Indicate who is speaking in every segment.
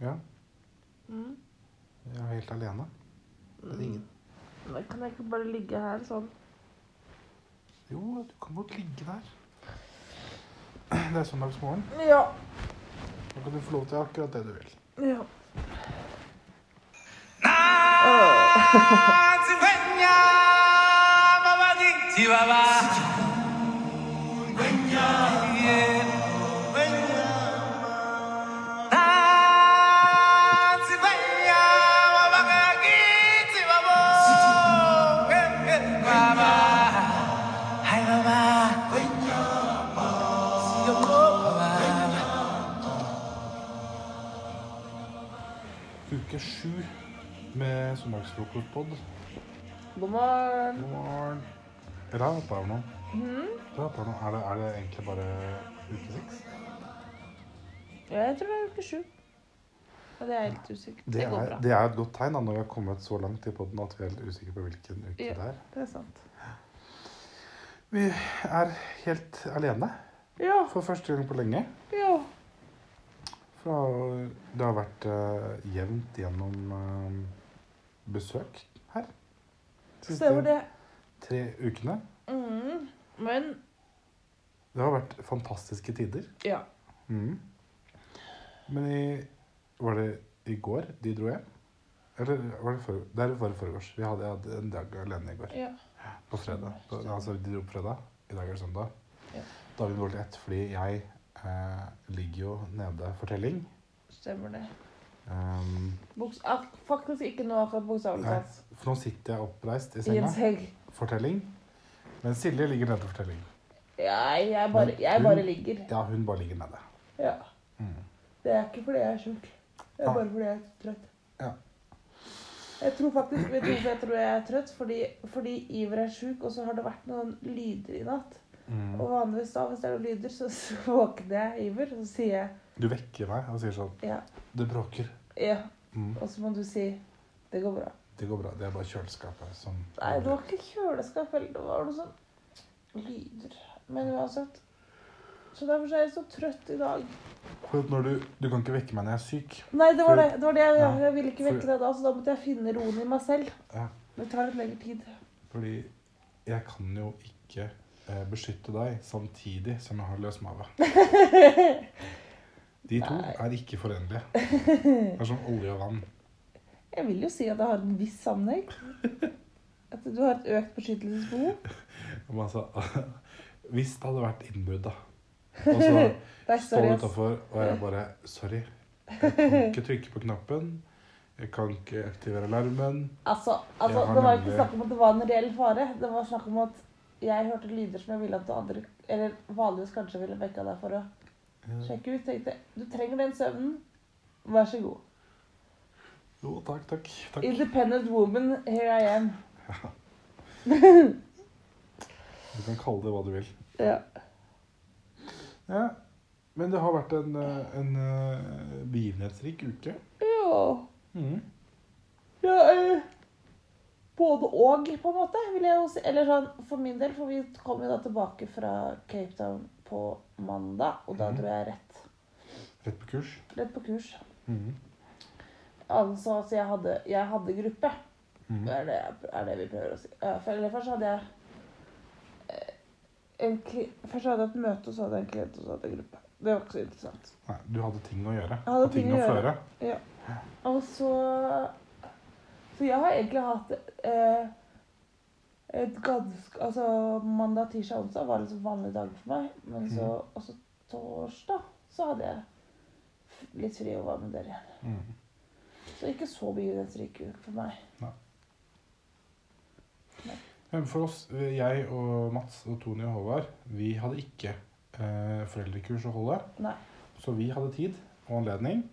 Speaker 1: Ja,
Speaker 2: Mm.
Speaker 1: jeg er helt alene. Det er ingen.
Speaker 2: Men kan jeg ikke bare ligge her sånn?
Speaker 1: Jo, du kan godt ligge der. Det er søndagsmorgen.
Speaker 2: Ja.
Speaker 1: Da kan du få lov til akkurat det du vil.
Speaker 2: ja.
Speaker 1: Uke sju med søndagsfrokostpod.
Speaker 2: God morgen.
Speaker 1: God morgen. Eller er det oppe her nå?
Speaker 2: Mm.
Speaker 1: Det er oppe her nå. Er det, er det egentlig bare uke seks?
Speaker 2: Ja, jeg tror det er uke sju. Ja, det er jeg litt usikker. Det,
Speaker 1: Det
Speaker 2: går
Speaker 1: er,
Speaker 2: bra.
Speaker 1: det er et godt tegn da, når vi har kommet så langt i podden at vi er helt usikre på hvilken uke
Speaker 2: Ja.
Speaker 1: det er.
Speaker 2: Det er sant.
Speaker 1: Vi er helt alene
Speaker 2: Ja.
Speaker 1: for første gang på lenge.
Speaker 2: Ja.
Speaker 1: Fra, det har vært eh, jevnt gjennom eh, besøk her. De
Speaker 2: Stemmer det.
Speaker 1: tre ukene.
Speaker 2: Mm. Men
Speaker 1: Det har vært fantastiske tider.
Speaker 2: ja.
Speaker 1: Mhm. Men i Var det i går de dro hjem? Eller var det for, det er for forgårs. Vi hadde, jeg hadde en dag alene i går.
Speaker 2: ja.
Speaker 1: På fredag. På, altså, de dro på fredag. I dag er det søndag.
Speaker 2: Ja.
Speaker 1: Dagen går til ett fordi jeg eh, ligger jo nede for telling.
Speaker 2: Stemmer det.
Speaker 1: Ehm,
Speaker 2: Boks ak- faktisk ikke noe akkurat bokstavelig
Speaker 1: Nei.
Speaker 2: talt.
Speaker 1: for nå sitter jeg oppreist i
Speaker 2: I en
Speaker 1: senga.
Speaker 2: seng.
Speaker 1: for telling. Men Silje ligger nede for telling.
Speaker 2: Ja, jeg bare, jeg bare ligger.
Speaker 1: Ja, hun bare ligger nede.
Speaker 2: Ja.
Speaker 1: Mm.
Speaker 2: Det er ikke fordi jeg er sjuk. Det er
Speaker 1: Ah.
Speaker 2: bare fordi jeg er trøtt.
Speaker 1: Ja.
Speaker 2: Jeg tror faktisk, Vet du hvorfor jeg tror jeg er trøtt? Fordi, fordi Iver er sjuk, og så har det vært noen lyder i natt.
Speaker 1: Mm.
Speaker 2: Og vanligvis da, hvis det er noen lyder, så så våkner jeg Iver, og så sier jeg
Speaker 1: Du vekker meg og sier sånn
Speaker 2: ja.
Speaker 1: Det bråker.
Speaker 2: ja.
Speaker 1: Mm.
Speaker 2: Og så må du si det går bra.
Speaker 1: Det går bra. Det er bare kjøleskapet som
Speaker 2: Nei, det var ikke kjøleskap heller. Det var noe sånn lyder. Men uansett. Så derfor så er jeg så trøtt i dag.
Speaker 1: For at når du, du kan ikke vekke meg når jeg er syk.
Speaker 2: Nei, det var det.
Speaker 1: For-
Speaker 2: det, var det. Jeg,
Speaker 1: Ja.
Speaker 2: jeg ville ikke vekke
Speaker 1: For-
Speaker 2: deg da, så da måtte jeg finne roen i meg selv.
Speaker 1: Ja.
Speaker 2: Det tar litt lengre tid.
Speaker 1: Fordi jeg kan jo ikke eh, beskytte deg samtidig som jeg har løs mage. De to
Speaker 2: Nei.
Speaker 1: er ikke forenlige. Det er som olje og vann.
Speaker 2: Jeg vil jo si at det har en viss sammenheng. At du har et økt beskyttelsesbehov.
Speaker 1: Men altså, hvis det hadde vært innbrudd, da. Og så
Speaker 2: Det er
Speaker 1: Står
Speaker 2: seriøst.
Speaker 1: utafor, og jeg bare Sorry. Jeg kan ikke trykke på knappen. Jeg kan ikke aktivere alarmen.
Speaker 2: Altså, altså
Speaker 1: Jeg har
Speaker 2: det var ikke
Speaker 1: nemlig-
Speaker 2: snakk om at det var en reell fare. Det var snakk om at jeg hørte lyder som jeg ville at du andre Eller vanligvis kanskje ville vekka deg for å sjekke ut. Tenkte du trenger den søvnen. Vær så god.
Speaker 1: Jo, takk, takk. takk.
Speaker 2: Independent woman, here I am.
Speaker 1: Du kan kalle det hva du vil.
Speaker 2: Ja.
Speaker 1: Ja. Men det har vært en, eh, en eh, begivenhetsrik uke.
Speaker 2: ja. ja eh, både og, på en måte, vil jeg jo si. Eller sånn, for min del, for vi kom jo da tilbake fra Cape Town på mandag, og da
Speaker 1: Mhm.
Speaker 2: dro jeg rett,
Speaker 1: Rett på kurs.
Speaker 2: rett på kurs.
Speaker 1: Mhm.
Speaker 2: Altså, altså jeg, hadde, jeg hadde gruppe,
Speaker 1: Mhm.
Speaker 2: er det, er det vi prøver å si. Ja, for, eller først hadde jeg eh, en, kli- Først hadde jeg et møte, og så hadde jeg en klient, og så hadde jeg gruppe. Det var ikke så interessant.
Speaker 1: Nei, du hadde ting å gjøre.
Speaker 2: hadde
Speaker 1: og ting,
Speaker 2: ting å
Speaker 1: å
Speaker 2: gjøre.
Speaker 1: føre.
Speaker 2: Og så Så jeg har egentlig hatt eh, et ganske Altså mandag, tirsdag, onsdag var liksom vanlige dager for meg. Men så også torsdag så hadde jeg f- litt fri og var med dere igjen.
Speaker 1: Mhm.
Speaker 2: Så ikke så begivenhetsrik uke for meg.
Speaker 1: Men For oss, eh, jeg og Mats og Tony og Håvard, vi hadde ikke eh, foreldrekurs å holde.
Speaker 2: Nei.
Speaker 1: Så vi hadde tid og anledning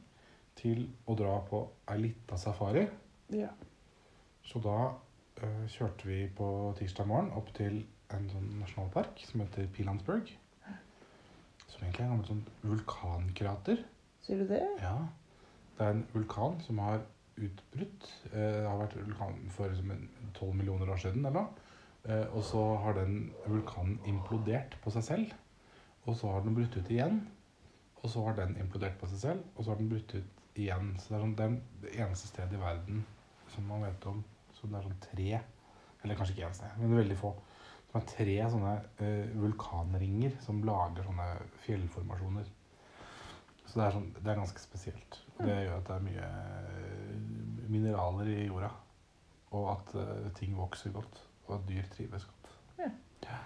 Speaker 1: til å dra på ei lita safari.
Speaker 2: Ja.
Speaker 1: Så da eh, kjørte vi på tirsdag morgen opp til en sånn nasjonalpark som heter Pilandsburg. Som egentlig er en gammel sånn vulkankrater.
Speaker 2: Sier du det?
Speaker 1: Ja. Det er en vulkan som har utbrutt. Eh, det har vært vulkan for som en 12 millioner år siden, eller noe. Eh, og så har den vulkanen implodert på seg selv. Og så har den brutt ut igjen. Og så har den implodert på seg selv. Og så har den brutt ut igjen. Så det er, sånn, det er det eneste stedet i verden som man vet om som det er sånn tre Eller kanskje ikke én sted, men veldig få. Som er tre sånne eh, vulkanringer som lager sånne fjellformasjoner. Så det er, sånn, det er ganske spesielt. Og Det gjør at det er mye eh, mineraler i jorda. Og at eh, ting vokser godt. Og at dyr trives godt.
Speaker 2: Ja.
Speaker 1: Ja.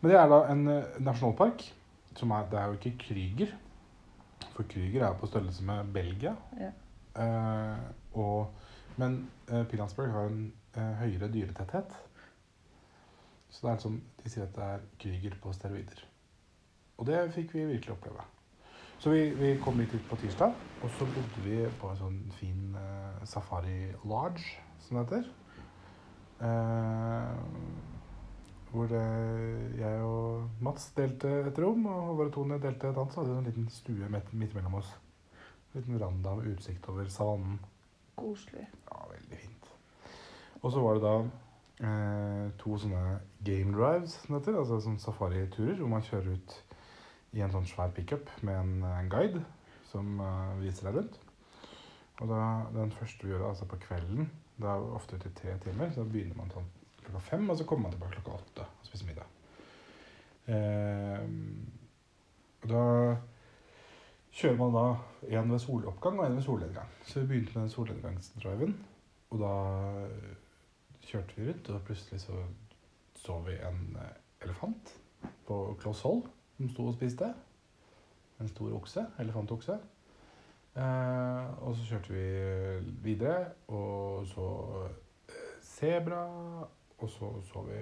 Speaker 1: Men det er da en eh, nasjonalpark. Som er, det er jo ikke Krüger. For Krüger er jo på størrelse med Belgia.
Speaker 2: Ja.
Speaker 1: Eh, og, men eh, Pilansberg har en eh, høyere dyretetthet. Så det er som de sier at det er Krüger på steroider. Og det fikk vi virkelig oppleve. Så vi, vi kom hit ut på tirsdag, og så bodde vi på en sånn fin eh, safari lodge, som det heter. Eh, hvor det, jeg og Mats delte et rom, og Håvard og Tone delte et annet. Så hadde vi en liten stue midt, midt mellom oss. En liten veranda med utsikt over savannen.
Speaker 2: Koselig.
Speaker 1: Ja, veldig fint. Og så var det da eh, to sånne game drives, som det heter. Altså sånne safariturer hvor man kjører ut i en sånn svær pickup med en, eh, en guide som eh, viser deg rundt. Og da, den første vi gjør, altså på kvelden, det er jo ofte ute i tre timer, så da begynner man sånn klokka fem, og så kommer man tilbake klokka åtte og spiser middag. Eh, og da kjører man da en ved soloppgang og en ved solnedgang. Så vi begynte med den solnedgangsdriven, og da øh, kjørte vi rundt, og plutselig så så vi en eh, elefant på kloss hold som sto og spiste. En stor okse, elefantokse. Eh, og så kjørte vi øh, videre, og så eh, sebra, og så så vi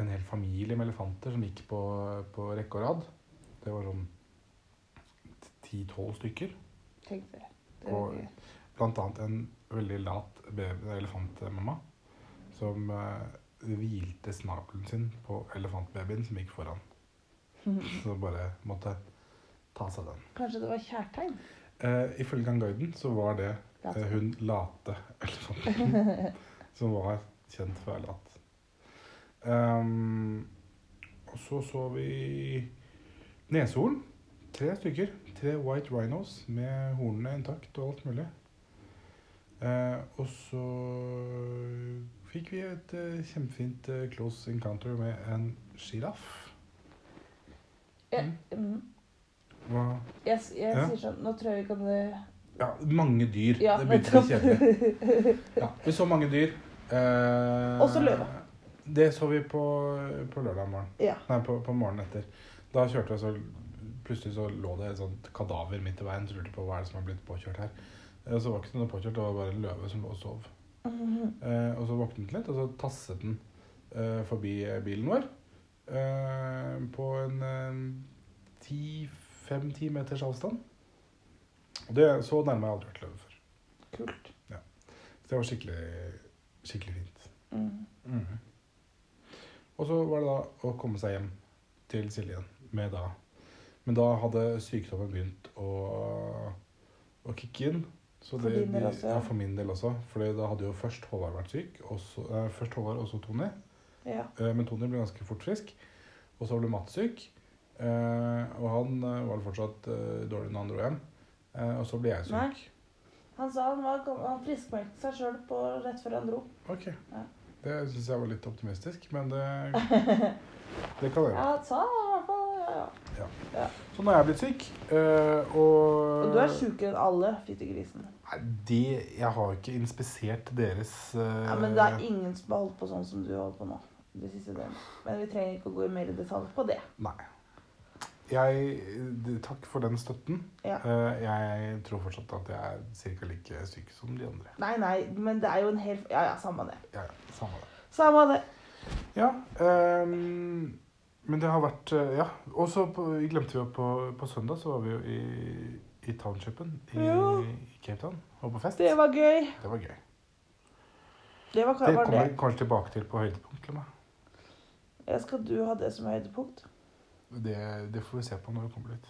Speaker 1: en hel familie med elefanter som gikk på, øh, på rekke og rad. Det var sånn ti-tolv stykker.
Speaker 2: Tenk det. Det er
Speaker 1: Og-
Speaker 2: gøy.
Speaker 1: Blant annet en veldig lat baby- elefantmamma som eh, hvilte snabelen sin på elefantbabyen som gikk foran. Så bare måtte ta seg den.
Speaker 2: Kanskje det var kjærtegn?
Speaker 1: Eh, ifølge han guiden så var det
Speaker 2: Lat.
Speaker 1: eh, hun late elefanten som var kjent for å være lat. Ehm, og så så vi neshorn. Tre stykker. Tre white rhinos med hornene intakt og alt mulig. Eh, og så fikk vi et eh, kjempefint eh, close encounter med en sjiraff.
Speaker 2: Jeg,
Speaker 1: Mm.
Speaker 2: mm.
Speaker 1: Hva-
Speaker 2: jeg, s- jeg
Speaker 1: Ja.
Speaker 2: sier sånn Nå tror jeg vi kan eh,
Speaker 1: Ja, mange dyr.
Speaker 2: Ja,
Speaker 1: det begynte å bli kjedelig.
Speaker 2: nettopp.
Speaker 1: Ja, vi så mange dyr. Eh,
Speaker 2: Også løve.
Speaker 1: Det så vi på, på lørdag morgen.
Speaker 2: ja.
Speaker 1: Nei, på, på morgenen etter. Da kjørte jeg, så plutselig så lå det et sånt kadaver midt i veien. Så lurte jeg på hva er det som har blitt påkjørt her. Eh, Så var det ikke noe påkjørt, det var bare en løve som lå og sov.
Speaker 2: Mhm.
Speaker 1: Eh, og så våknet den litt, og så tasset den eh, forbi eh, bilen vår. Eh, på en eh, 5-10 meters avstand. Og det så nærme har jeg aldri vært løve før.
Speaker 2: Kult.
Speaker 1: Så det var skikkelig, skikkelig fint.
Speaker 2: Mm.
Speaker 1: Og så var det da å komme seg hjem til Silje igjen med da Men da hadde sykdommen begynt å, å kicke inn. Så
Speaker 2: For din del
Speaker 1: vi-
Speaker 2: også, ja.
Speaker 1: Ja, for min del også. For da hadde jo først Håvard vært syk. Og så, eh, først Håvard og så Tony.
Speaker 2: Ja.
Speaker 1: Eh, men Tony ble ganske fort frisk. Og så ble Mats syk. Eh, og han eh, var fortsatt eh, dårlig når han dro hjem. Eh, og så ble jeg syk.
Speaker 2: Nei. Han sa han, var, gam- han friskmeldte seg sjøl rett før han dro.
Speaker 1: Ok.
Speaker 2: Ja.
Speaker 1: Det syns jeg var litt optimistisk, men det, det kan jeg
Speaker 2: Ja,
Speaker 1: gjøre.
Speaker 2: han sa i hvert fall ja, ja.
Speaker 1: Så nå er jeg blitt syk, eh, og
Speaker 2: Og du er sjukere enn alle fittegrisen.
Speaker 1: Nei, de, jeg har jo ikke inspisert deres eh,
Speaker 2: Ja, men det er ingen som har holdt på sånn som du holder på nå. Det siste døgnet. Men vi trenger ikke å gå i mer i detalj på det.
Speaker 1: Nei. Jeg, de- takk for den støtten.
Speaker 2: Ja.
Speaker 1: Eh, jeg tror fortsatt at jeg er ca. like syk som de andre.
Speaker 2: Nei, nei, men det er jo en hel Ja, ja, samme det.
Speaker 1: Ja, ja, samme det.
Speaker 2: Samme det.
Speaker 1: Ja, ehm, men det har vært eh, Ja. Og så på- vi glemte vi jo på, på søndag, så var vi jo i, i townshipen i,
Speaker 2: Ja.
Speaker 1: i Cape Town og på fest.
Speaker 2: Det var gøy.
Speaker 1: Det var gøy.
Speaker 2: Det var,
Speaker 1: Det
Speaker 2: var
Speaker 1: kommer
Speaker 2: det.
Speaker 1: vi kanskje tilbake til på høydepunkt. Til meg.
Speaker 2: Ja, skal du ha det som høydepunkt?
Speaker 1: Det, det får vi se på når vi kommer dit.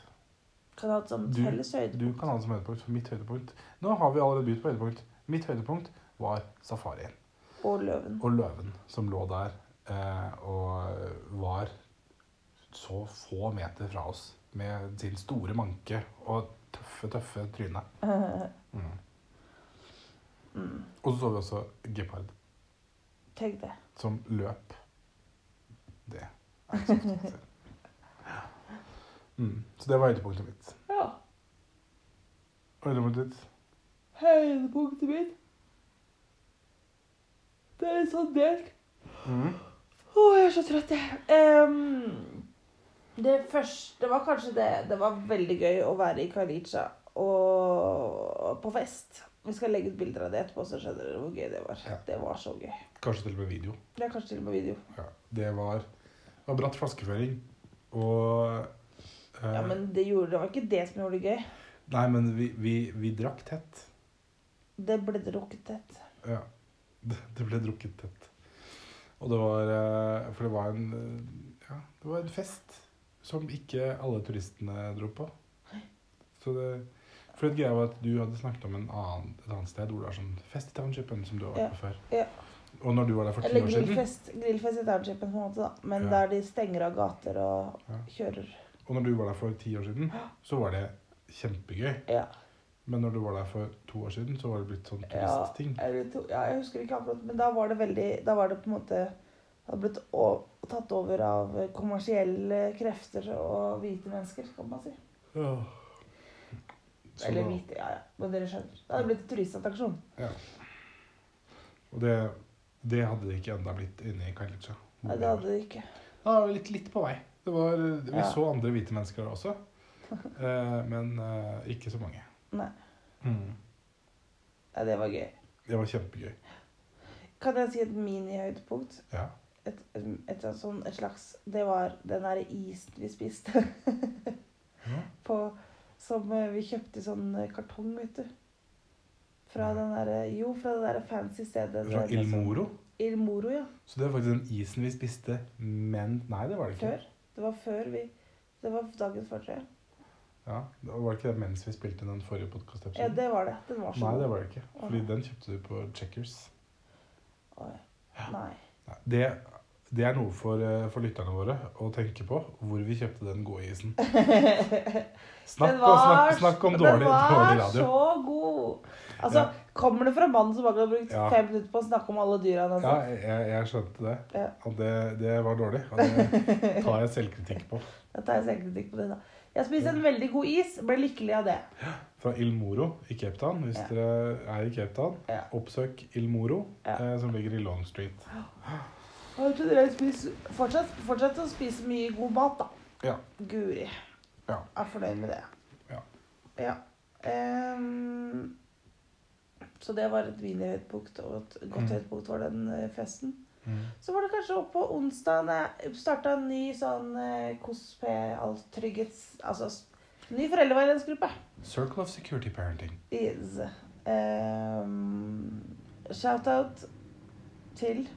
Speaker 2: Kan jeg ha det som et
Speaker 1: Du-
Speaker 2: felles høydepunkt?
Speaker 1: Du kan ha det som høydepunkt, for mitt høydepunkt Nå har vi allerede begynt på høydepunkt. Mitt høydepunkt var safarien
Speaker 2: Og løven.
Speaker 1: og løven som lå der eh, og var så få meter fra oss. med sin store manke og tøffe, tøffe tryne. Mm.
Speaker 2: Mm.
Speaker 1: Og så så vi også gepard
Speaker 2: Tenk det.
Speaker 1: som løp. Det er ikke så ofte man ser. Ja. Mm. Så det var høydepunktet mitt.
Speaker 2: Ja.
Speaker 1: Høydepunktet ditt?
Speaker 2: Høydepunktet mitt Det er litt sånn delt.
Speaker 1: Mm.
Speaker 2: Å, jeg er så trøtt, jeg. Ehm, det første var kanskje det. Det var veldig gøy å være i Karlija og på fest. Vi skal legge ut bilder av det etterpå, så skjønner dere hvor gøy det var.
Speaker 1: Ja.
Speaker 2: Det var så gøy.
Speaker 1: Kanskje til og med video.
Speaker 2: Det er kanskje til og med video.
Speaker 1: Ja. Det var, det var bratt flaskeføring. Og eh,
Speaker 2: Ja, Men det, gjorde, det var ikke det som gjorde det gøy.
Speaker 1: Nei, men vi, vi, vi drakk tett.
Speaker 2: Det ble drukket tett.
Speaker 1: Ja. Det, det ble drukket tett. Og det var eh, For det var en eh, Ja, det var en fest som ikke alle turistene dro på. Så det For det greia var at du hadde snakket om en annen, et annet sted hvor det var sånn fest i townshipen som du har vært
Speaker 2: Ja,
Speaker 1: på før.
Speaker 2: ja.
Speaker 1: Og når du var der for ti
Speaker 2: Eller
Speaker 1: år siden,
Speaker 2: grillfest, grillfest i townshipen, på en måte, da. Men
Speaker 1: Ja.
Speaker 2: der de stenger av gater og
Speaker 1: Ja.
Speaker 2: kjører.
Speaker 1: og når du var der for ti år siden, så var det kjempegøy.
Speaker 2: Ja.
Speaker 1: Men når du var der for to år siden, så var det blitt sånn
Speaker 2: Ja,
Speaker 1: turistting.
Speaker 2: eller to, ja, jeg husker ikke akkurat, men da var det veldig Da var det på en måte det hadde blitt o- tatt over av kommersielle krefter og hvite mennesker, kan man si.
Speaker 1: Ja. Så
Speaker 2: Eller
Speaker 1: da-
Speaker 2: hvite, ja ja. Men dere skjønner. Det hadde blitt en turistattraksjon.
Speaker 1: Og det, det hadde det ikke enda blitt inne i Karlitsja.
Speaker 2: Nei, det hadde det ikke.
Speaker 1: Ja, det var litt, litt på vei. Det var, vi
Speaker 2: Ja.
Speaker 1: så andre hvite mennesker der også, eh, men eh, ikke så mange.
Speaker 2: Nei.
Speaker 1: Mm.
Speaker 2: Nei, det var gøy.
Speaker 1: Det var kjempegøy.
Speaker 2: Kan jeg si et minihøydepunkt?
Speaker 1: Ja.
Speaker 2: Et, et, et, sånn- et slags Det var den derre isen vi spiste
Speaker 1: Ja.
Speaker 2: på Som eh, vi kjøpte i sånn eh, kartong, vet du. Fra
Speaker 1: Nei.
Speaker 2: den derre Jo, fra det derre fancy stedet.
Speaker 1: Fra
Speaker 2: der
Speaker 1: Il
Speaker 2: liksom-
Speaker 1: Moro.
Speaker 2: Il Moro, ja.
Speaker 1: Så det var faktisk den isen vi spiste, men Nei, det var det ikke.
Speaker 2: Før. Det var før vi Det var dagen før, tror jeg.
Speaker 1: Ja, det var ikke det mens vi spilte den forrige
Speaker 2: Ja,
Speaker 1: podkastepisoden?
Speaker 2: det var det. Den var så
Speaker 1: Nei,
Speaker 2: god.
Speaker 1: det var det ikke.
Speaker 2: Å,
Speaker 1: Fordi
Speaker 2: nei.
Speaker 1: den kjøpte du på Checkers.
Speaker 2: Oi. Nei.
Speaker 1: Nei, Det, det er noe for, eh, for lytterne våre å tenke på, hvor vi kjøpte den gode isen. Snakk,
Speaker 2: Den
Speaker 1: og snakk,
Speaker 2: var-
Speaker 1: snakk om dårlig, dårlig
Speaker 2: Den
Speaker 1: radio.
Speaker 2: var så god. Altså,
Speaker 1: Ja.
Speaker 2: kommer det fra mannen som bare har brukt
Speaker 1: Ja.
Speaker 2: fem minutter på å snakke om alle dyra han har
Speaker 1: Ja,
Speaker 2: sett?
Speaker 1: jeg, jeg skjønte det.
Speaker 2: Ja.
Speaker 1: At det, det var dårlig. Og det tar jeg selvkritikk på.
Speaker 2: Da tar jeg selvkritikk på det, da. Jeg spiste en veldig god is. Ble lykkelig av det.
Speaker 1: Fra Il Moro i Cape Town. Hvis
Speaker 2: Ja.
Speaker 1: dere er i Cape Town,
Speaker 2: Ja.
Speaker 1: oppsøk Il Moro,
Speaker 2: Ja.
Speaker 1: eh, som ligger i Long Street.
Speaker 2: Og jeg tror dere spiser- fortsatt, fortsatt å spise mye god mat, da.
Speaker 1: Ja.
Speaker 2: Guri.
Speaker 1: Ja.
Speaker 2: Er fornøyd med det.
Speaker 1: Ja.
Speaker 2: Ja. Ehm, så det var et minihøydepunkt, og et godt
Speaker 1: Mm.
Speaker 2: høydepunkt var den eh, festen.
Speaker 1: Mm.
Speaker 2: Så var det kanskje opp på onsdag starta en ny sånn eh, KOSP, alt trygghets... Altså s- ny foreldreveiledningsgruppe.
Speaker 1: Circle of Security Parenting.
Speaker 2: Is. Ehm, Shout-out til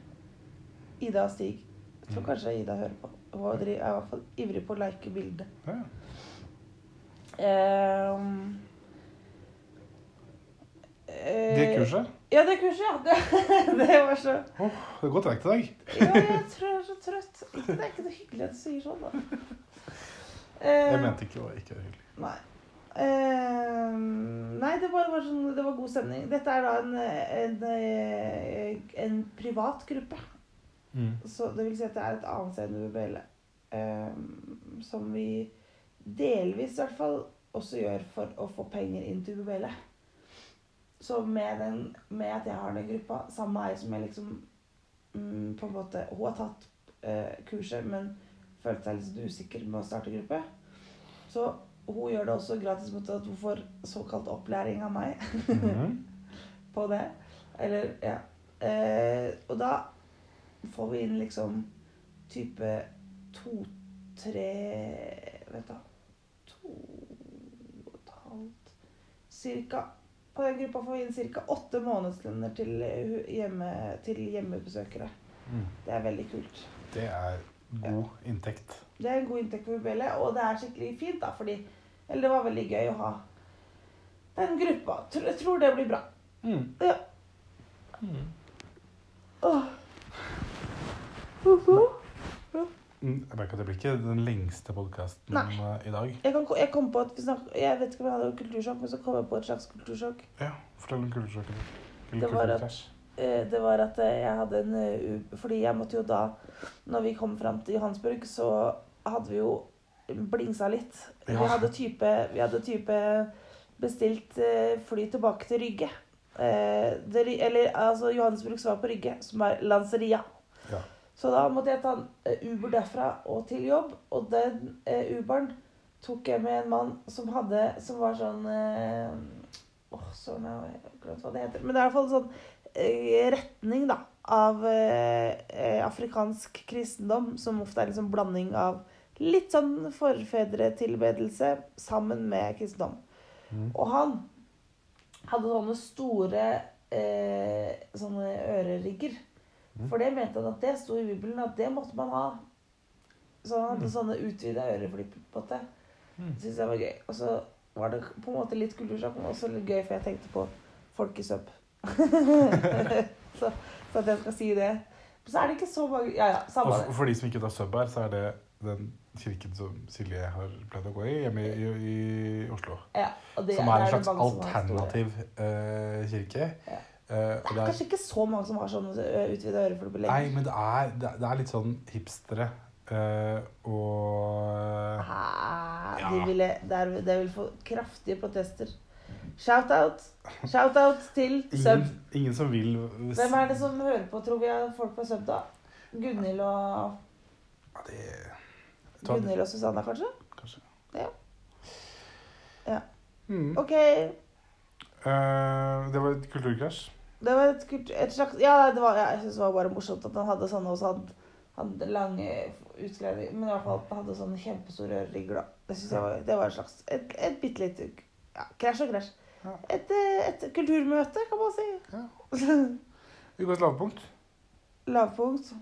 Speaker 2: Ida og Stig. Jeg tror
Speaker 1: Mm.
Speaker 2: kanskje Ida hører på. Hun er i hvert fall ivrig på å like bildet.
Speaker 1: Ja.
Speaker 2: Ehm,
Speaker 1: Det
Speaker 2: eh,
Speaker 1: kurset.
Speaker 2: Ja, det kurset, ja. Det, det var så
Speaker 1: Åh, det er godt verk i dag.
Speaker 2: Ja, jeg tror jeg er så trøtt. Ikke, det er ikke noe hyggelig at du sier sånn,
Speaker 1: Jeg
Speaker 2: da. Eh,
Speaker 1: mente ikke å ikke være hyggelig.
Speaker 2: Nei. Eh, nei, det bare var sånn Det var god stemning. Dette er da en, en, eh, en privat gruppe.
Speaker 1: Mm.
Speaker 2: Så det vil si at det er et annet sted enn UBL. eh, som vi delvis i hvert fall også gjør for å få penger inn til UBL. Så med, den, med at jeg har den gruppa, sammen med ei som jeg liksom mm, på en måte, Hun har tatt eh, kurset, men følte seg litt sånn usikker med å starte gruppe. Så hun gjør det også gratis mot at hun får såkalt opplæring av meg
Speaker 1: Mhm.
Speaker 2: på det. Eller, ja. Eh, og da får vi inn liksom type to-tre Vet da To og et halvt Cirka. På den gruppa får vi inn cirka åtte månedslønner til, eh, hu- hjemme, til hjemmebesøkere.
Speaker 1: Mm.
Speaker 2: Det er veldig kult.
Speaker 1: Det er god inntekt.
Speaker 2: Det er en god inntekt for Belle, og det er skikkelig fint, da, fordi Eller det var veldig gøy å ha den gruppa. Tr- Jeg tror det blir bra.
Speaker 1: Mm.
Speaker 2: Ja.
Speaker 1: Mm.
Speaker 2: Åh.
Speaker 1: Mm, Jeg merker at det blir ikke den lengste podkasten
Speaker 2: Nei.
Speaker 1: i dag.
Speaker 2: Jeg, kan, jeg kom på at vi snak- Jeg vet ikke om jeg hadde kultursjokk, men så kom jeg på et slags kultursjokk.
Speaker 1: Ja, fortell om kulesjokken.
Speaker 2: Det var at- Eh, Det var at eh, jeg hadde en eh, u- Fordi jeg måtte jo da Når vi kom fram til Johansburg, så hadde vi jo blingsa litt. Vi,
Speaker 1: Ja.
Speaker 2: hadde type, vi hadde type bestilt eh, fly tilbake til Rygge. Eh, det, ry- eller altså Johansburg som var på Rygge, som er Lanseria.
Speaker 1: Ja.
Speaker 2: Så da måtte jeg ta en eh, Uber derfra og til jobb, og den eh, Uberen tok jeg med en mann som hadde Som var sånn eh, Åh, søren, jeg har glemt hva det heter. Men det er i hvert fall sånn eh, retning, da, av eh, eh, afrikansk kristendom, som ofte er en sånn blanding av litt sånn forfedretilbedelse sammen med kristendom.
Speaker 1: Mhm.
Speaker 2: Og han hadde sånne store eh, sånne ørerigger.
Speaker 1: Mhm.
Speaker 2: For det mente han at det sto i Bibelen at det måtte man ha. Så han hadde sånne utvida øreflipper. på en måte.
Speaker 1: Mhm.
Speaker 2: Det synes jeg var gøy. Og så var det på en måte litt kultursjokk, men også litt gøy, for jeg tenkte på folk i søpp. så, så at jeg skal si det. Men så er det ikke så mange Ja ja,
Speaker 1: Og
Speaker 2: samme
Speaker 1: for-
Speaker 2: det.
Speaker 1: for de som ikke tar sub her, så er det den kirken som Silje har pleid å gå i hjemme i, i Oslo.
Speaker 2: Ja, og det
Speaker 1: som er
Speaker 2: det
Speaker 1: en
Speaker 2: det
Speaker 1: slags
Speaker 2: mange som har store.
Speaker 1: alternativ eh, kirke.
Speaker 2: Ja.
Speaker 1: Eh, og
Speaker 2: Det er kanskje ikke så mange som har sånn utvida øreflipper
Speaker 1: Nei,
Speaker 2: lenger.
Speaker 1: men det er, det er- det er litt sånn hipstere eh, og
Speaker 2: Ah,
Speaker 1: Ja.
Speaker 2: de ville, der, de vil få kraftige protester. Shout-out! Shout-out til Sub.
Speaker 1: ingen, ingen som vil
Speaker 2: Hvem er det som hører på, tror vi, er folk på Sub, da? Gunhild og
Speaker 1: Ja, det Ta-
Speaker 2: Gunhild og Susanna, kanskje?
Speaker 1: Kanskje.
Speaker 2: Ja. Ja.
Speaker 1: Mm.
Speaker 2: OK.
Speaker 1: Eh, det var et kulturkrasj.
Speaker 2: Det var et, kult, et slags Ja, det var, ja, jeg synes det var bare morsomt at han hadde sånne og så hadde han lange utgreier Men i hvert fall at han hadde sånne kjempestore ørerigger, da. Det synes jeg var, det var et slags Et, et bitte lite ja, krasj og krasj.
Speaker 1: Ja.
Speaker 2: Et, eh, et kulturmøte, kan man si.
Speaker 1: Ukas lavpunkt.
Speaker 2: Lavpunkt.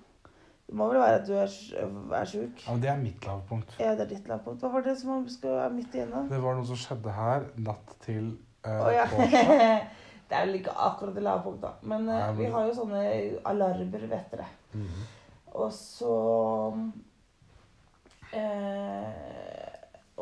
Speaker 2: Det må vel være at du er, sj- er sjuk.
Speaker 1: Ja, men Det er mitt lavpunkt.
Speaker 2: Ja, det er ditt lavpunkt. Hva var det som man skal være midt igjennom?
Speaker 1: Det var noe som skjedde her natt til eh,
Speaker 2: Å ja.
Speaker 1: torsdag.
Speaker 2: Det er vel ikke akkurat det lavpunkt, da. Men eh,
Speaker 1: Nei, men-
Speaker 2: vi har jo sånne alarmer, vet dere.
Speaker 1: Mhm.
Speaker 2: Og så eh,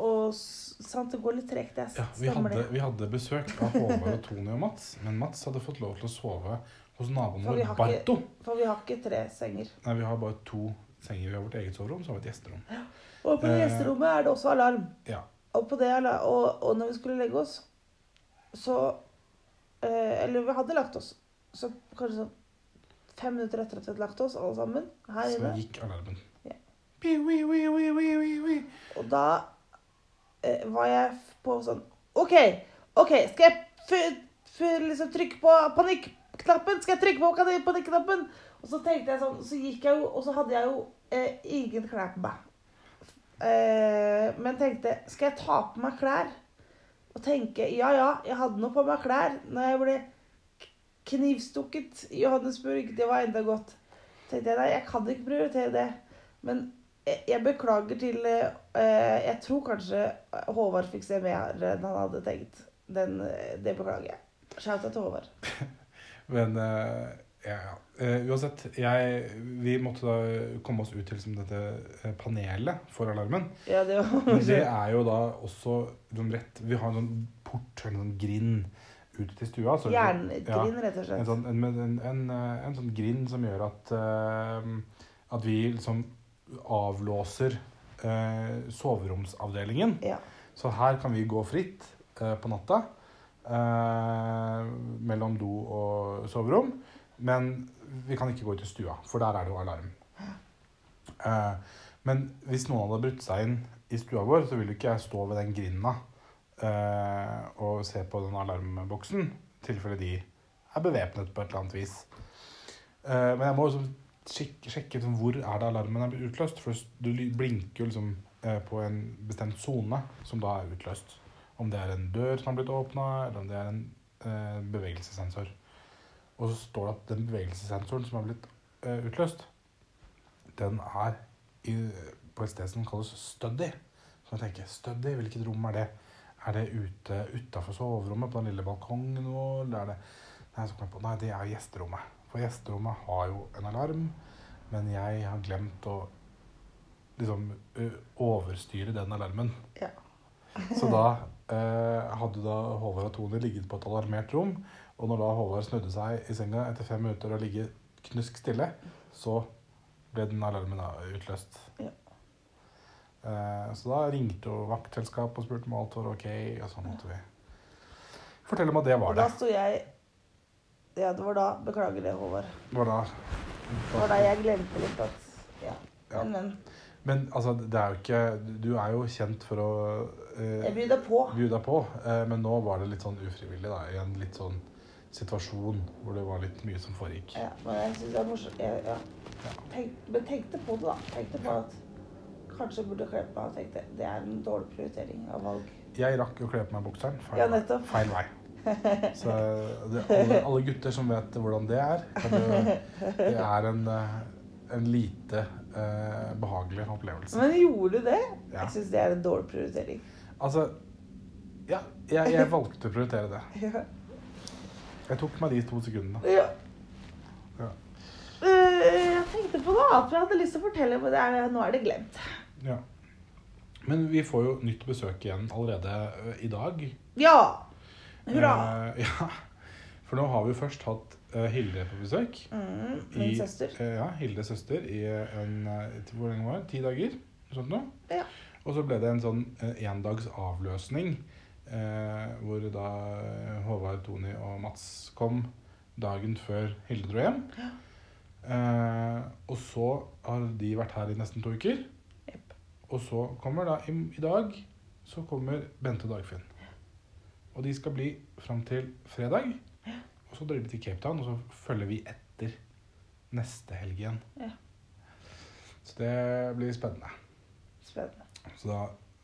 Speaker 2: Og s- sant, det går litt tregt, det.
Speaker 1: Ja, vi
Speaker 2: stemmer
Speaker 1: hadde,
Speaker 2: det.
Speaker 1: vi hadde besøk av Håvard og Tony og Mats, men Mats hadde fått lov til å sove hos naboen
Speaker 2: For vi
Speaker 1: vår,
Speaker 2: har ikke-
Speaker 1: Barto.
Speaker 2: For vi har ikke tre senger.
Speaker 1: Nei, vi har bare to senger. Vi har vårt eget soverom, så har vi et gjesterom.
Speaker 2: Og på
Speaker 1: Eh.
Speaker 2: gjesterommet er det også alarm.
Speaker 1: Ja.
Speaker 2: Og, på det, ala- og, og når vi skulle legge oss, så eh, Eller vi hadde lagt oss, så kanskje sånn fem minutter etter at vi hadde lagt oss, alle sammen her
Speaker 1: Så
Speaker 2: inne.
Speaker 1: gikk alarmen.
Speaker 2: Ja.
Speaker 1: Pi, wi, wi, wi, wi, wi, wi.
Speaker 2: Og da eh, var jeg f- på sånn OK, ok, skal jeg f- f- liksom trykke på panikknappen? Skal jeg trykke på kan- panikknappen? Og så tenkte jeg sånn, så gikk jeg jo, og så hadde jeg jo eh, ingen klær på meg. Eh, men tenkte, skal jeg ta på meg klær? Og tenke, ja ja, jeg hadde nå på meg klær når jeg ble k- knivstukket i Johannesburg. Det var enda godt. Tenkte jeg, nei, jeg kan ikke prioritere det. Men jeg, jeg beklager til eh, eh, Jeg tror kanskje eh, Håvard fikk se mer enn han hadde tenkt. Den, eh, det beklager jeg. Shout out til Håvard.
Speaker 1: Men eh, ja, ja. Eh, uansett, jeg, vi måtte da komme oss ut til liksom, dette eh, panelet for alarmen.
Speaker 2: Ja, det var
Speaker 1: Men det er jo da også liksom, rett Vi har en sånn port, eller en sånn grind, ut til stua. så-
Speaker 2: Jerngrin, rett og
Speaker 1: En
Speaker 2: slett.
Speaker 1: altså- sånn, en, en, en, eh, en sånn grind som gjør at, eh, at vi liksom avlåser eh, soveromsavdelingen.
Speaker 2: Ja.
Speaker 1: Så her kan vi gå fritt eh, på natta eh, mellom do og soverom. Men vi kan ikke gå ut i stua, for der er det jo alarm. Eh, men hvis noen hadde brutt seg inn i stua vår, så ville jo ikke jeg stå ved den grinda eh, og se på den alarmboksen, i tilfelle de er bevæpnet på et eller annet vis. Eh, men jeg må liksom sjek- sjekke liksom, hvor er det alarmen er blitt utløst, for du ly- blinker jo liksom eh, på en bestemt sone som da er utløst. Om det er en dør som har blitt åpna, eller om det er en eh, bevegelsessensor. Og så står det at den bevegelsessensoren som har blitt eh, utløst, den er i, på et sted som kalles study. Så jeg tenker, study, hvilket rom er det? Er det ute utafor soverommet, på den lille balkongen nå, eller er det Nei, så kom jeg på, nei, det er gjesterommet. For gjesterommet har jo en alarm, men jeg har glemt å liksom ø, overstyre den alarmen.
Speaker 2: Ja.
Speaker 1: Så da eh, hadde da Håvard og Tone ligget på et alarmert rom, og når da Håvard snudde seg i senga etter fem minutter og ligget knusk stille, så ble den alarmen da utløst.
Speaker 2: Ja.
Speaker 1: Eh, så da ringte jo vaktselskapet og spurte om alt var ok, og så måtte vi fortelle om at det
Speaker 2: Og
Speaker 1: var
Speaker 2: da
Speaker 1: det.
Speaker 2: sto jeg Ja, det var da. Beklager det, Håvard.
Speaker 1: Det var da.
Speaker 2: Det var da jeg glemte litt at Ja.
Speaker 1: Ja.
Speaker 2: Men, men.
Speaker 1: Men altså, det er jo ikke Du er jo kjent for å eh,
Speaker 2: Jeg byr deg på.
Speaker 1: bjuda på. Eh, men nå var det litt sånn ufrivillig, da. I en litt sånn situasjon hvor det var litt mye som foregikk.
Speaker 2: Ja, men jeg synes det er morsomt. Jeg, ja. Tenk, men tenkte på det, da. Tenkte på at kanskje jeg burde kle på meg og tenkte det er en dårlig prioritering av valg.
Speaker 1: Jeg rakk å kle på meg bukseren. Feil,
Speaker 2: Ja, nettopp.
Speaker 1: feil vei. Så det, alle, alle gutter som vet hvordan det er, kan jo Det er en, eh, en lite eh, behagelig opplevelse.
Speaker 2: Men gjorde du det?
Speaker 1: Ja.
Speaker 2: Jeg syns det er en dårlig prioritering.
Speaker 1: Altså Ja, jeg, jeg valgte å prioritere det.
Speaker 2: Ja.
Speaker 1: Jeg tok meg de to sekundene.
Speaker 2: Ja.
Speaker 1: Ja.
Speaker 2: Eh, Jeg tenkte på noe annet jeg hadde lyst til å fortelle, men det er, nå er det glemt.
Speaker 1: Ja. Men vi får jo nytt besøk igjen allerede ø, i dag.
Speaker 2: Ja! Hurra!
Speaker 1: Eh, ja. For nå har vi jo først hatt eh, Hilde på besøk.
Speaker 2: Mm, min søster.
Speaker 1: eh, ja, Hildes søster i en eh, til- Hvor lenge var det? Ti dager? Noe sånt noe.
Speaker 2: Ja.
Speaker 1: Og så ble det en sånn eh, endags avløsning eh, hvor da eh, Håvard, Tony og Mats kom dagen før Hilde dro hjem. Eh, og så har de vært her i nesten to uker.
Speaker 2: Jepp.
Speaker 1: Og så kommer da i, i dag så kommer Bente og Dagfinn. Og de skal bli fram til fredag. Og så drar de til Cape Town, og så følger vi etter neste helg igjen.
Speaker 2: Ja.
Speaker 1: Så det blir spennende.
Speaker 2: Spennende.
Speaker 1: Så da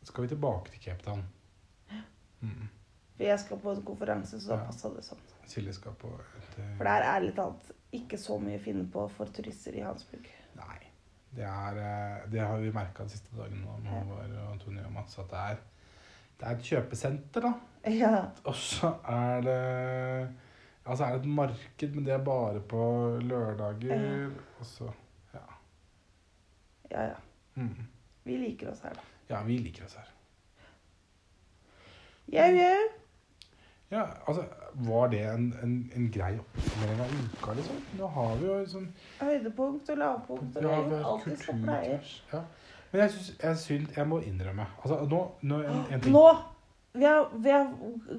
Speaker 1: skal vi tilbake til Cape Town. Mm.
Speaker 2: For jeg skal på en konferanse, så da
Speaker 1: Ja.
Speaker 2: passa det sånn.
Speaker 1: Silje skal på et eh,
Speaker 2: For det er ærlig talt ikke så mye å finne på for turister i Hansburg.
Speaker 1: Nei. Det, er, eh, det har vi merka de siste dagene nå med
Speaker 2: Ja.
Speaker 1: Håvard og Tony og Mats, at det er, det er et kjøpesenter, da.
Speaker 2: Ja.
Speaker 1: Og så er det Altså er det et marked, men det er bare på lørdager.
Speaker 2: Ja.
Speaker 1: Og så Ja.
Speaker 2: Ja, ja.
Speaker 1: Mm.
Speaker 2: Vi liker oss her, da.
Speaker 1: Ja, vi liker oss her.
Speaker 2: Jau, jau.
Speaker 1: Ja, altså, Var det en, en, en grei oppsummering av uka, liksom? Nå har vi jo liksom
Speaker 2: Høydepunkt og lavpunkt og
Speaker 1: ja,
Speaker 2: regn.
Speaker 1: vi har
Speaker 2: Alt vi skal
Speaker 1: kultur-
Speaker 2: pleie.
Speaker 1: Ja. Men jeg syns jeg, syns- jeg må innrømme altså, nå, nå, en, en ting.
Speaker 2: Nå! Vi har, vi har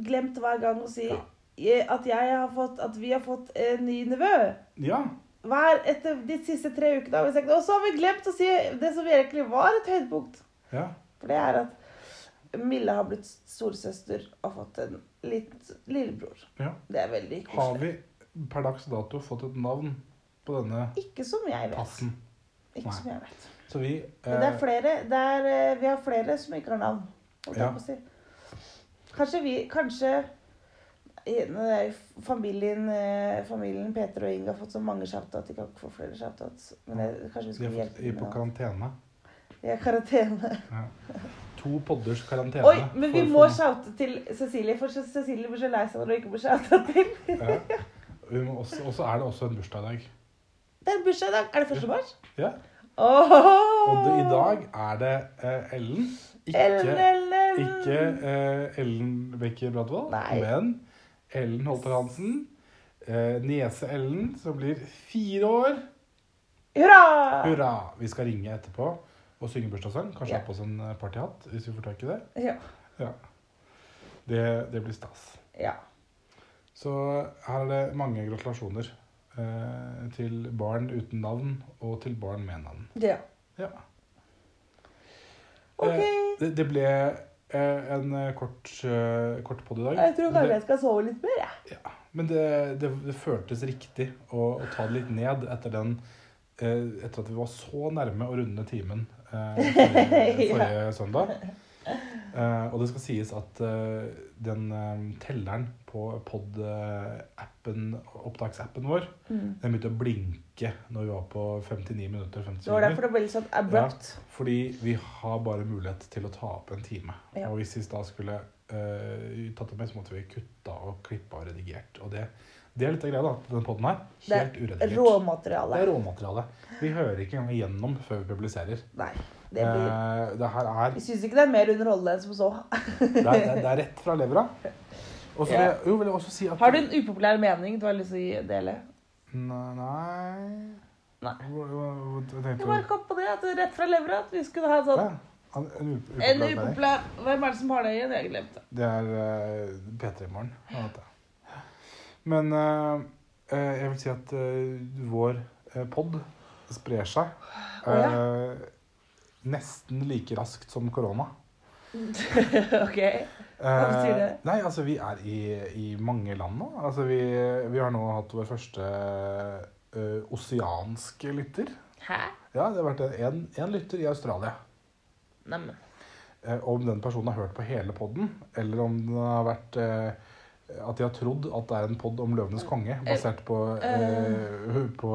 Speaker 2: glemt hver gang å si
Speaker 1: Ja.
Speaker 2: eh, at, jeg har fått, at vi har fått en ny nevø.
Speaker 1: Ja,
Speaker 2: Hver etter de siste tre ukene. har vi sagt, Og så har vi glemt å si det som egentlig var et høydepunkt.
Speaker 1: ja.
Speaker 2: For det er at Mille har blitt storesøster og fått en litt lillebror.
Speaker 1: Ja.
Speaker 2: Det er veldig
Speaker 1: Har
Speaker 2: koselig.
Speaker 1: vi per dags dato fått et navn på denne
Speaker 2: Ikke som jeg vet.
Speaker 1: passen?
Speaker 2: Ikke
Speaker 1: Nei.
Speaker 2: som jeg vet.
Speaker 1: Så vi
Speaker 2: Men det er
Speaker 1: eh,
Speaker 2: flere, det er, eh, vi har flere som ikke har navn. holdt jeg
Speaker 1: Ja.
Speaker 2: på å si. Kanskje vi Kanskje i- nå er jo familien, eh, familien Peter og Inge har fått så mange shoutouts. De kan ikke få flere shoutouts. Men jeg, kanskje vi
Speaker 1: vi
Speaker 2: skal
Speaker 1: har fått
Speaker 2: hjelpe
Speaker 1: i
Speaker 2: dem
Speaker 1: på
Speaker 2: med noe.
Speaker 1: karantene.
Speaker 2: Vi er i karantene.
Speaker 1: Ja. To podders karantene.
Speaker 2: Oi, men vi
Speaker 1: for-
Speaker 2: må
Speaker 1: for-
Speaker 2: shoute til Cecilie, for Ce- Cecilie blir så lei seg når hun ikke blir shouta til.
Speaker 1: Ja. Vi må også- Og så er det også en bursdag i dag.
Speaker 2: Det er bursdag i dag. Er det 1. mars?
Speaker 1: Ja.
Speaker 2: Åh!
Speaker 1: Og det, i dag er det eh, Ellen. Ikke,
Speaker 2: Ellen, Ellen, Ellen.
Speaker 1: ikke eh, Ellen Becker Bradvold,
Speaker 2: Nei.
Speaker 1: men Ellen Holter Hansen. Eh, Niese-Ellen, som blir fire år.
Speaker 2: Hurra!
Speaker 1: Hurra! Vi skal ringe etterpå og synge bursdagssang. Kanskje
Speaker 2: Ja.
Speaker 1: ha på oss en eh, partyhatt hvis vi får tak i det.
Speaker 2: Ja.
Speaker 1: Ja. Det, det blir stas.
Speaker 2: ja.
Speaker 1: Så her er det mange gratulasjoner eh, til barn uten navn og til barn med navn.
Speaker 2: Ja.
Speaker 1: Ja. Eh,
Speaker 2: OK.
Speaker 1: Det, det ble eh, en eh, kort, eh, kort podd i dag.
Speaker 2: Jeg tror
Speaker 1: Men
Speaker 2: kanskje
Speaker 1: det,
Speaker 2: jeg skal sove litt mer, jeg.
Speaker 1: men det, det, det føltes riktig å, å ta det litt ned etter den eh, Etter at vi var så nærme å runde timen eh, forrige,
Speaker 2: Ja.
Speaker 1: forrige søndag. Eh, og det skal sies at eh, den eh, telleren på pod-appen, opptaksappen vår,
Speaker 2: Mm.
Speaker 1: den begynte å blinke når vi var på 59 minutter. 50
Speaker 2: Det var derfor det ble litt sånn abrupt.
Speaker 1: Fordi vi har bare mulighet til å ta opp en time.
Speaker 2: Ja.
Speaker 1: Og hvis vi da skulle eh, tatt det med, så måtte vi kutta og klippa og redigert. Og det, Det er litt av greia, da. Denne podden her.
Speaker 3: Det er
Speaker 1: Helt uredigert. Det
Speaker 3: Råmateriale.
Speaker 1: er råmateriale. Vi hører ikke engang igjennom før vi publiserer.
Speaker 3: Nei. Det blir
Speaker 1: Eh, det her er
Speaker 3: Vi syns ikke det er mer underholdende enn som så.
Speaker 1: det er, det er- det er rett fra levra. Og så vil jeg, jo, vil jeg også si at
Speaker 2: Har du en upopulær mening du har lyst til å gi- dele?
Speaker 1: Nei Nei.
Speaker 2: Nei.
Speaker 1: Hva, hva, hva
Speaker 2: Jeg
Speaker 1: tenkte
Speaker 2: bare
Speaker 1: du?
Speaker 2: kom på det, at det er rett fra levra at vi skulle ha en sånn
Speaker 1: Ja, en u- upopulær
Speaker 2: En
Speaker 1: mening.
Speaker 2: upopulær Hvem er det som har det igjen? Jeg glemte.
Speaker 1: Det er eh, P3 i morgen. jeg vet det. Men eh, eh, jeg vil si at eh, vår uh, pod sprer seg eh, nesten like raskt som korona.
Speaker 2: ok. Hva betyr det?
Speaker 1: Eh, Nei, altså Vi er i, i mange land nå. Altså vi, vi har nå hatt vår første eh, oseanske lytter.
Speaker 2: Hæ?
Speaker 1: Ja, Det har vært en, en lytter i Australia.
Speaker 2: Neimen.
Speaker 1: Eh, om den personen har hørt på hele podden, eller om den har vært eh, At de har trodd at det er en pod om Løvenes konge, basert på, eh, på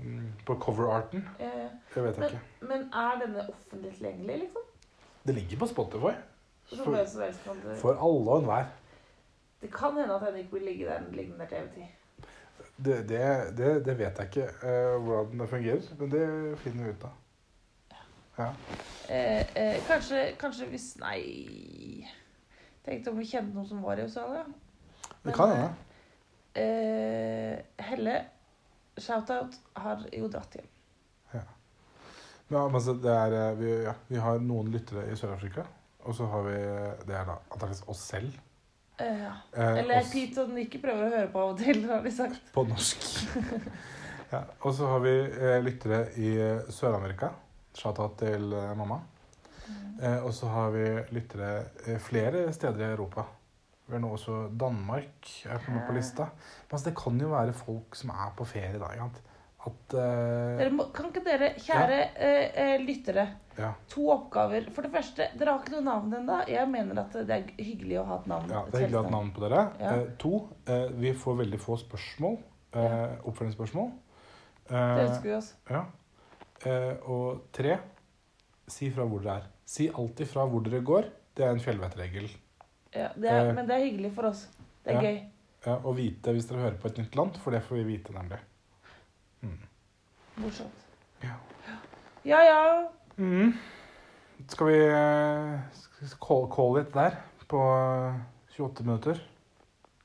Speaker 1: mm, På coverarten.
Speaker 2: Eh,
Speaker 1: Det vet jeg
Speaker 2: men,
Speaker 1: ikke.
Speaker 2: men er denne offentlig tilgjengelig, liksom?
Speaker 1: Det ligger på Spotify.
Speaker 2: Så
Speaker 1: For-
Speaker 2: hvem som helst kan det.
Speaker 1: For alle og enhver.
Speaker 2: det kan hende at den ikke blir ligge der den ligger der til evig tid.
Speaker 1: Det, det, det, det vet jeg ikke eh, hvordan det fungerer, men det finner vi ut av. Ja.
Speaker 2: Eh, eh, kanskje, kanskje hvis Nei. Tenkte om vi kjente noen som var i Australia.
Speaker 1: Det kan hende.
Speaker 2: Eh, Helle, shout-out, har jo dratt hjem.
Speaker 1: Ja, men så det er, eh, vi, ja, vi har noen lyttere i Sør-Afrika. Og så har vi Det er da antakeligvis oss selv.
Speaker 2: Eh, ja.
Speaker 1: eh,
Speaker 2: Eller
Speaker 1: oss-
Speaker 2: Pete og Nikki prøver å høre på av og til, har de sagt.
Speaker 1: På norsk. ja, og så har vi eh, lyttere i eh, Sør-Amerika. Shata til eh, mamma.
Speaker 2: Mm.
Speaker 1: Eh, og så har vi lyttere eh, flere steder i Europa. Vi har nå også Danmark er på, på lista. Men altså, det kan jo være folk som er på ferie da. Ikke sant? At eh,
Speaker 2: Dere må, kan ikke dere, kjære eh, eh, lyttere,
Speaker 1: Ja.
Speaker 2: to oppgaver. For det første, dere har ikke noe navn ennå. Jeg mener at det er hyggelig å ha et navn.
Speaker 1: Ja, det er hyggelig å ha et navn på dere.
Speaker 2: Ja.
Speaker 1: Eh, to, eh, vi får veldig få spørsmål. Eh, oppfølgingsspørsmål. Eh,
Speaker 2: Det ønsker vi oss.
Speaker 1: Ja. Eh, og tre, si fra hvor dere er. Si alltid fra hvor dere går. Det er en fjellvettregel.
Speaker 2: Ja, det er,
Speaker 1: eh,
Speaker 2: men det er hyggelig for oss. Det
Speaker 1: ja.
Speaker 2: er gøy.
Speaker 1: Ja, og vite hvis dere hører på et nytt land, for det får vi vite, nemlig.
Speaker 2: Morsomt.
Speaker 1: Ja.
Speaker 2: Ja ja.
Speaker 1: Mhm. Skal vi eh, skal vi call, call it der på eh, 28 minutter?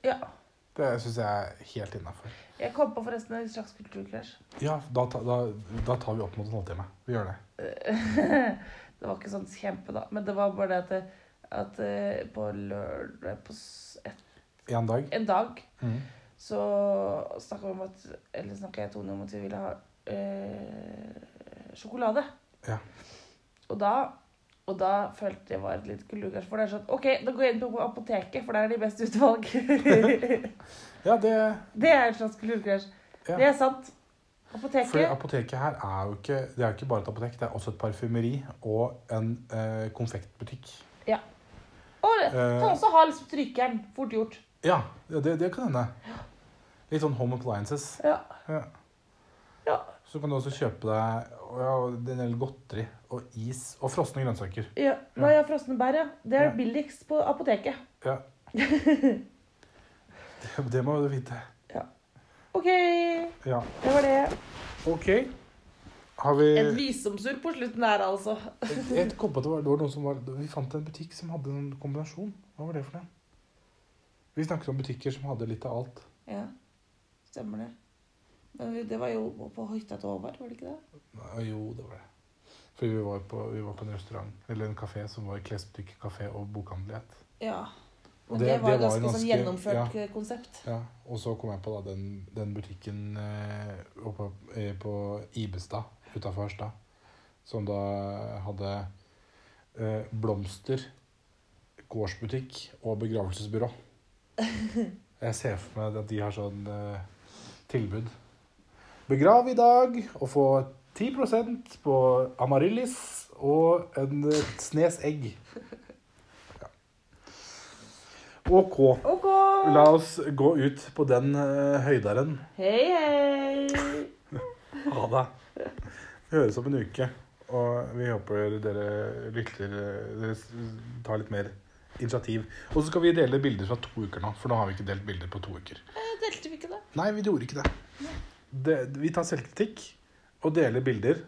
Speaker 2: ja.
Speaker 1: Det syns jeg er helt innafor.
Speaker 2: Jeg kom på forresten en slags kulturkrasj.
Speaker 1: Ja, da, ta, da, da tar vi opp mot en halvtime. Vi gjør det.
Speaker 2: det var ikke sånn kjempe, da. Men det var bare det at, det, at eh, på lørdag på s- et,
Speaker 1: Én dag.
Speaker 2: En dag
Speaker 1: Mhm.
Speaker 2: så snakka vi om at Eller snakka jeg og Tone om at vi ville ha eh, sjokolade.
Speaker 1: Ja.
Speaker 2: Og da og da følte jeg det var et litt kulturkrasj. For det er sånn OK, da går jeg inn på apoteket, for der er de beste utvalg.
Speaker 1: Ja, det
Speaker 2: det er et slags kulturkrasj.
Speaker 1: Ja.
Speaker 2: Det er sant.
Speaker 1: Fordi
Speaker 2: Apoteket.
Speaker 1: apoteket her er jo ikke, det er jo ikke bare et apotek, det er også et parfymeri og en eh, konfektbutikk.
Speaker 2: Og
Speaker 1: eh,
Speaker 2: kan også ha liksom trykkeren. Fort gjort.
Speaker 1: Ja, ja, det, det kan hende. Litt sånn home appliances.
Speaker 2: Ja.
Speaker 1: Ja.
Speaker 2: Ja.
Speaker 1: Så kan du også kjøpe deg og ja, og en del godteri og is og frosne grønnsaker.
Speaker 2: Ja, Nei, ja, frosne bær, ja. Det er
Speaker 1: Ja.
Speaker 2: billigst på apoteket.
Speaker 1: Ja. Det, det må du vite.
Speaker 2: OK, det
Speaker 1: Ja.
Speaker 2: var det.
Speaker 1: OK. Har vi
Speaker 2: Et visdomsord på slutten her, altså.
Speaker 1: Jeg kom på at det var, det var noen som var Vi fant en butikk som hadde en kombinasjon. Hva var det for noe? Vi snakket om butikker som hadde litt av alt.
Speaker 2: Ja, stemmer det. Men vi- det var jo på hytta til Håvard, var det ikke det?
Speaker 1: Nei, Jo, det var det. Fordi vi var på, vi var på en restaurant, eller en kafé som var klesbutikk, kafé og bokhandelighet.
Speaker 2: Ja.
Speaker 1: Og det-
Speaker 2: Men det, var
Speaker 1: det
Speaker 2: et
Speaker 1: var
Speaker 2: ganske,
Speaker 1: ganske-
Speaker 2: sånn gjennomført eh, konsept.
Speaker 1: Ja, og så kom jeg på da, den, den butikken eh, oppe, eh, på Ibestad utafor Harstad. Som da hadde eh, blomster, gårdsbutikk og begravelsesbyrå. Jeg ser for meg at de har sånn eh, tilbud. Begrav i dag og få 10 på amaryllis og en eh, snes egg. Ja. OK.
Speaker 2: OK.
Speaker 1: La oss gå ut på den eh, høydaren.
Speaker 2: Hei, hei.
Speaker 1: Ha det. Vi høres om en uke, og vi håper dere lytter eh, Dere s- tar litt mer initiativ. Og så skal vi dele bilder fra to uker nå, for nå har vi ikke delt bilder på to uker.
Speaker 2: Eh,
Speaker 3: Delte vi ikke det?
Speaker 1: Nei, vi gjorde ikke det. det vi tar selvkritikk og deler bilder.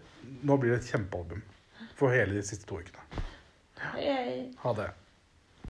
Speaker 1: Nå blir det et kjempealbum for hele de siste to ukene.
Speaker 3: Jeg
Speaker 1: Ha det.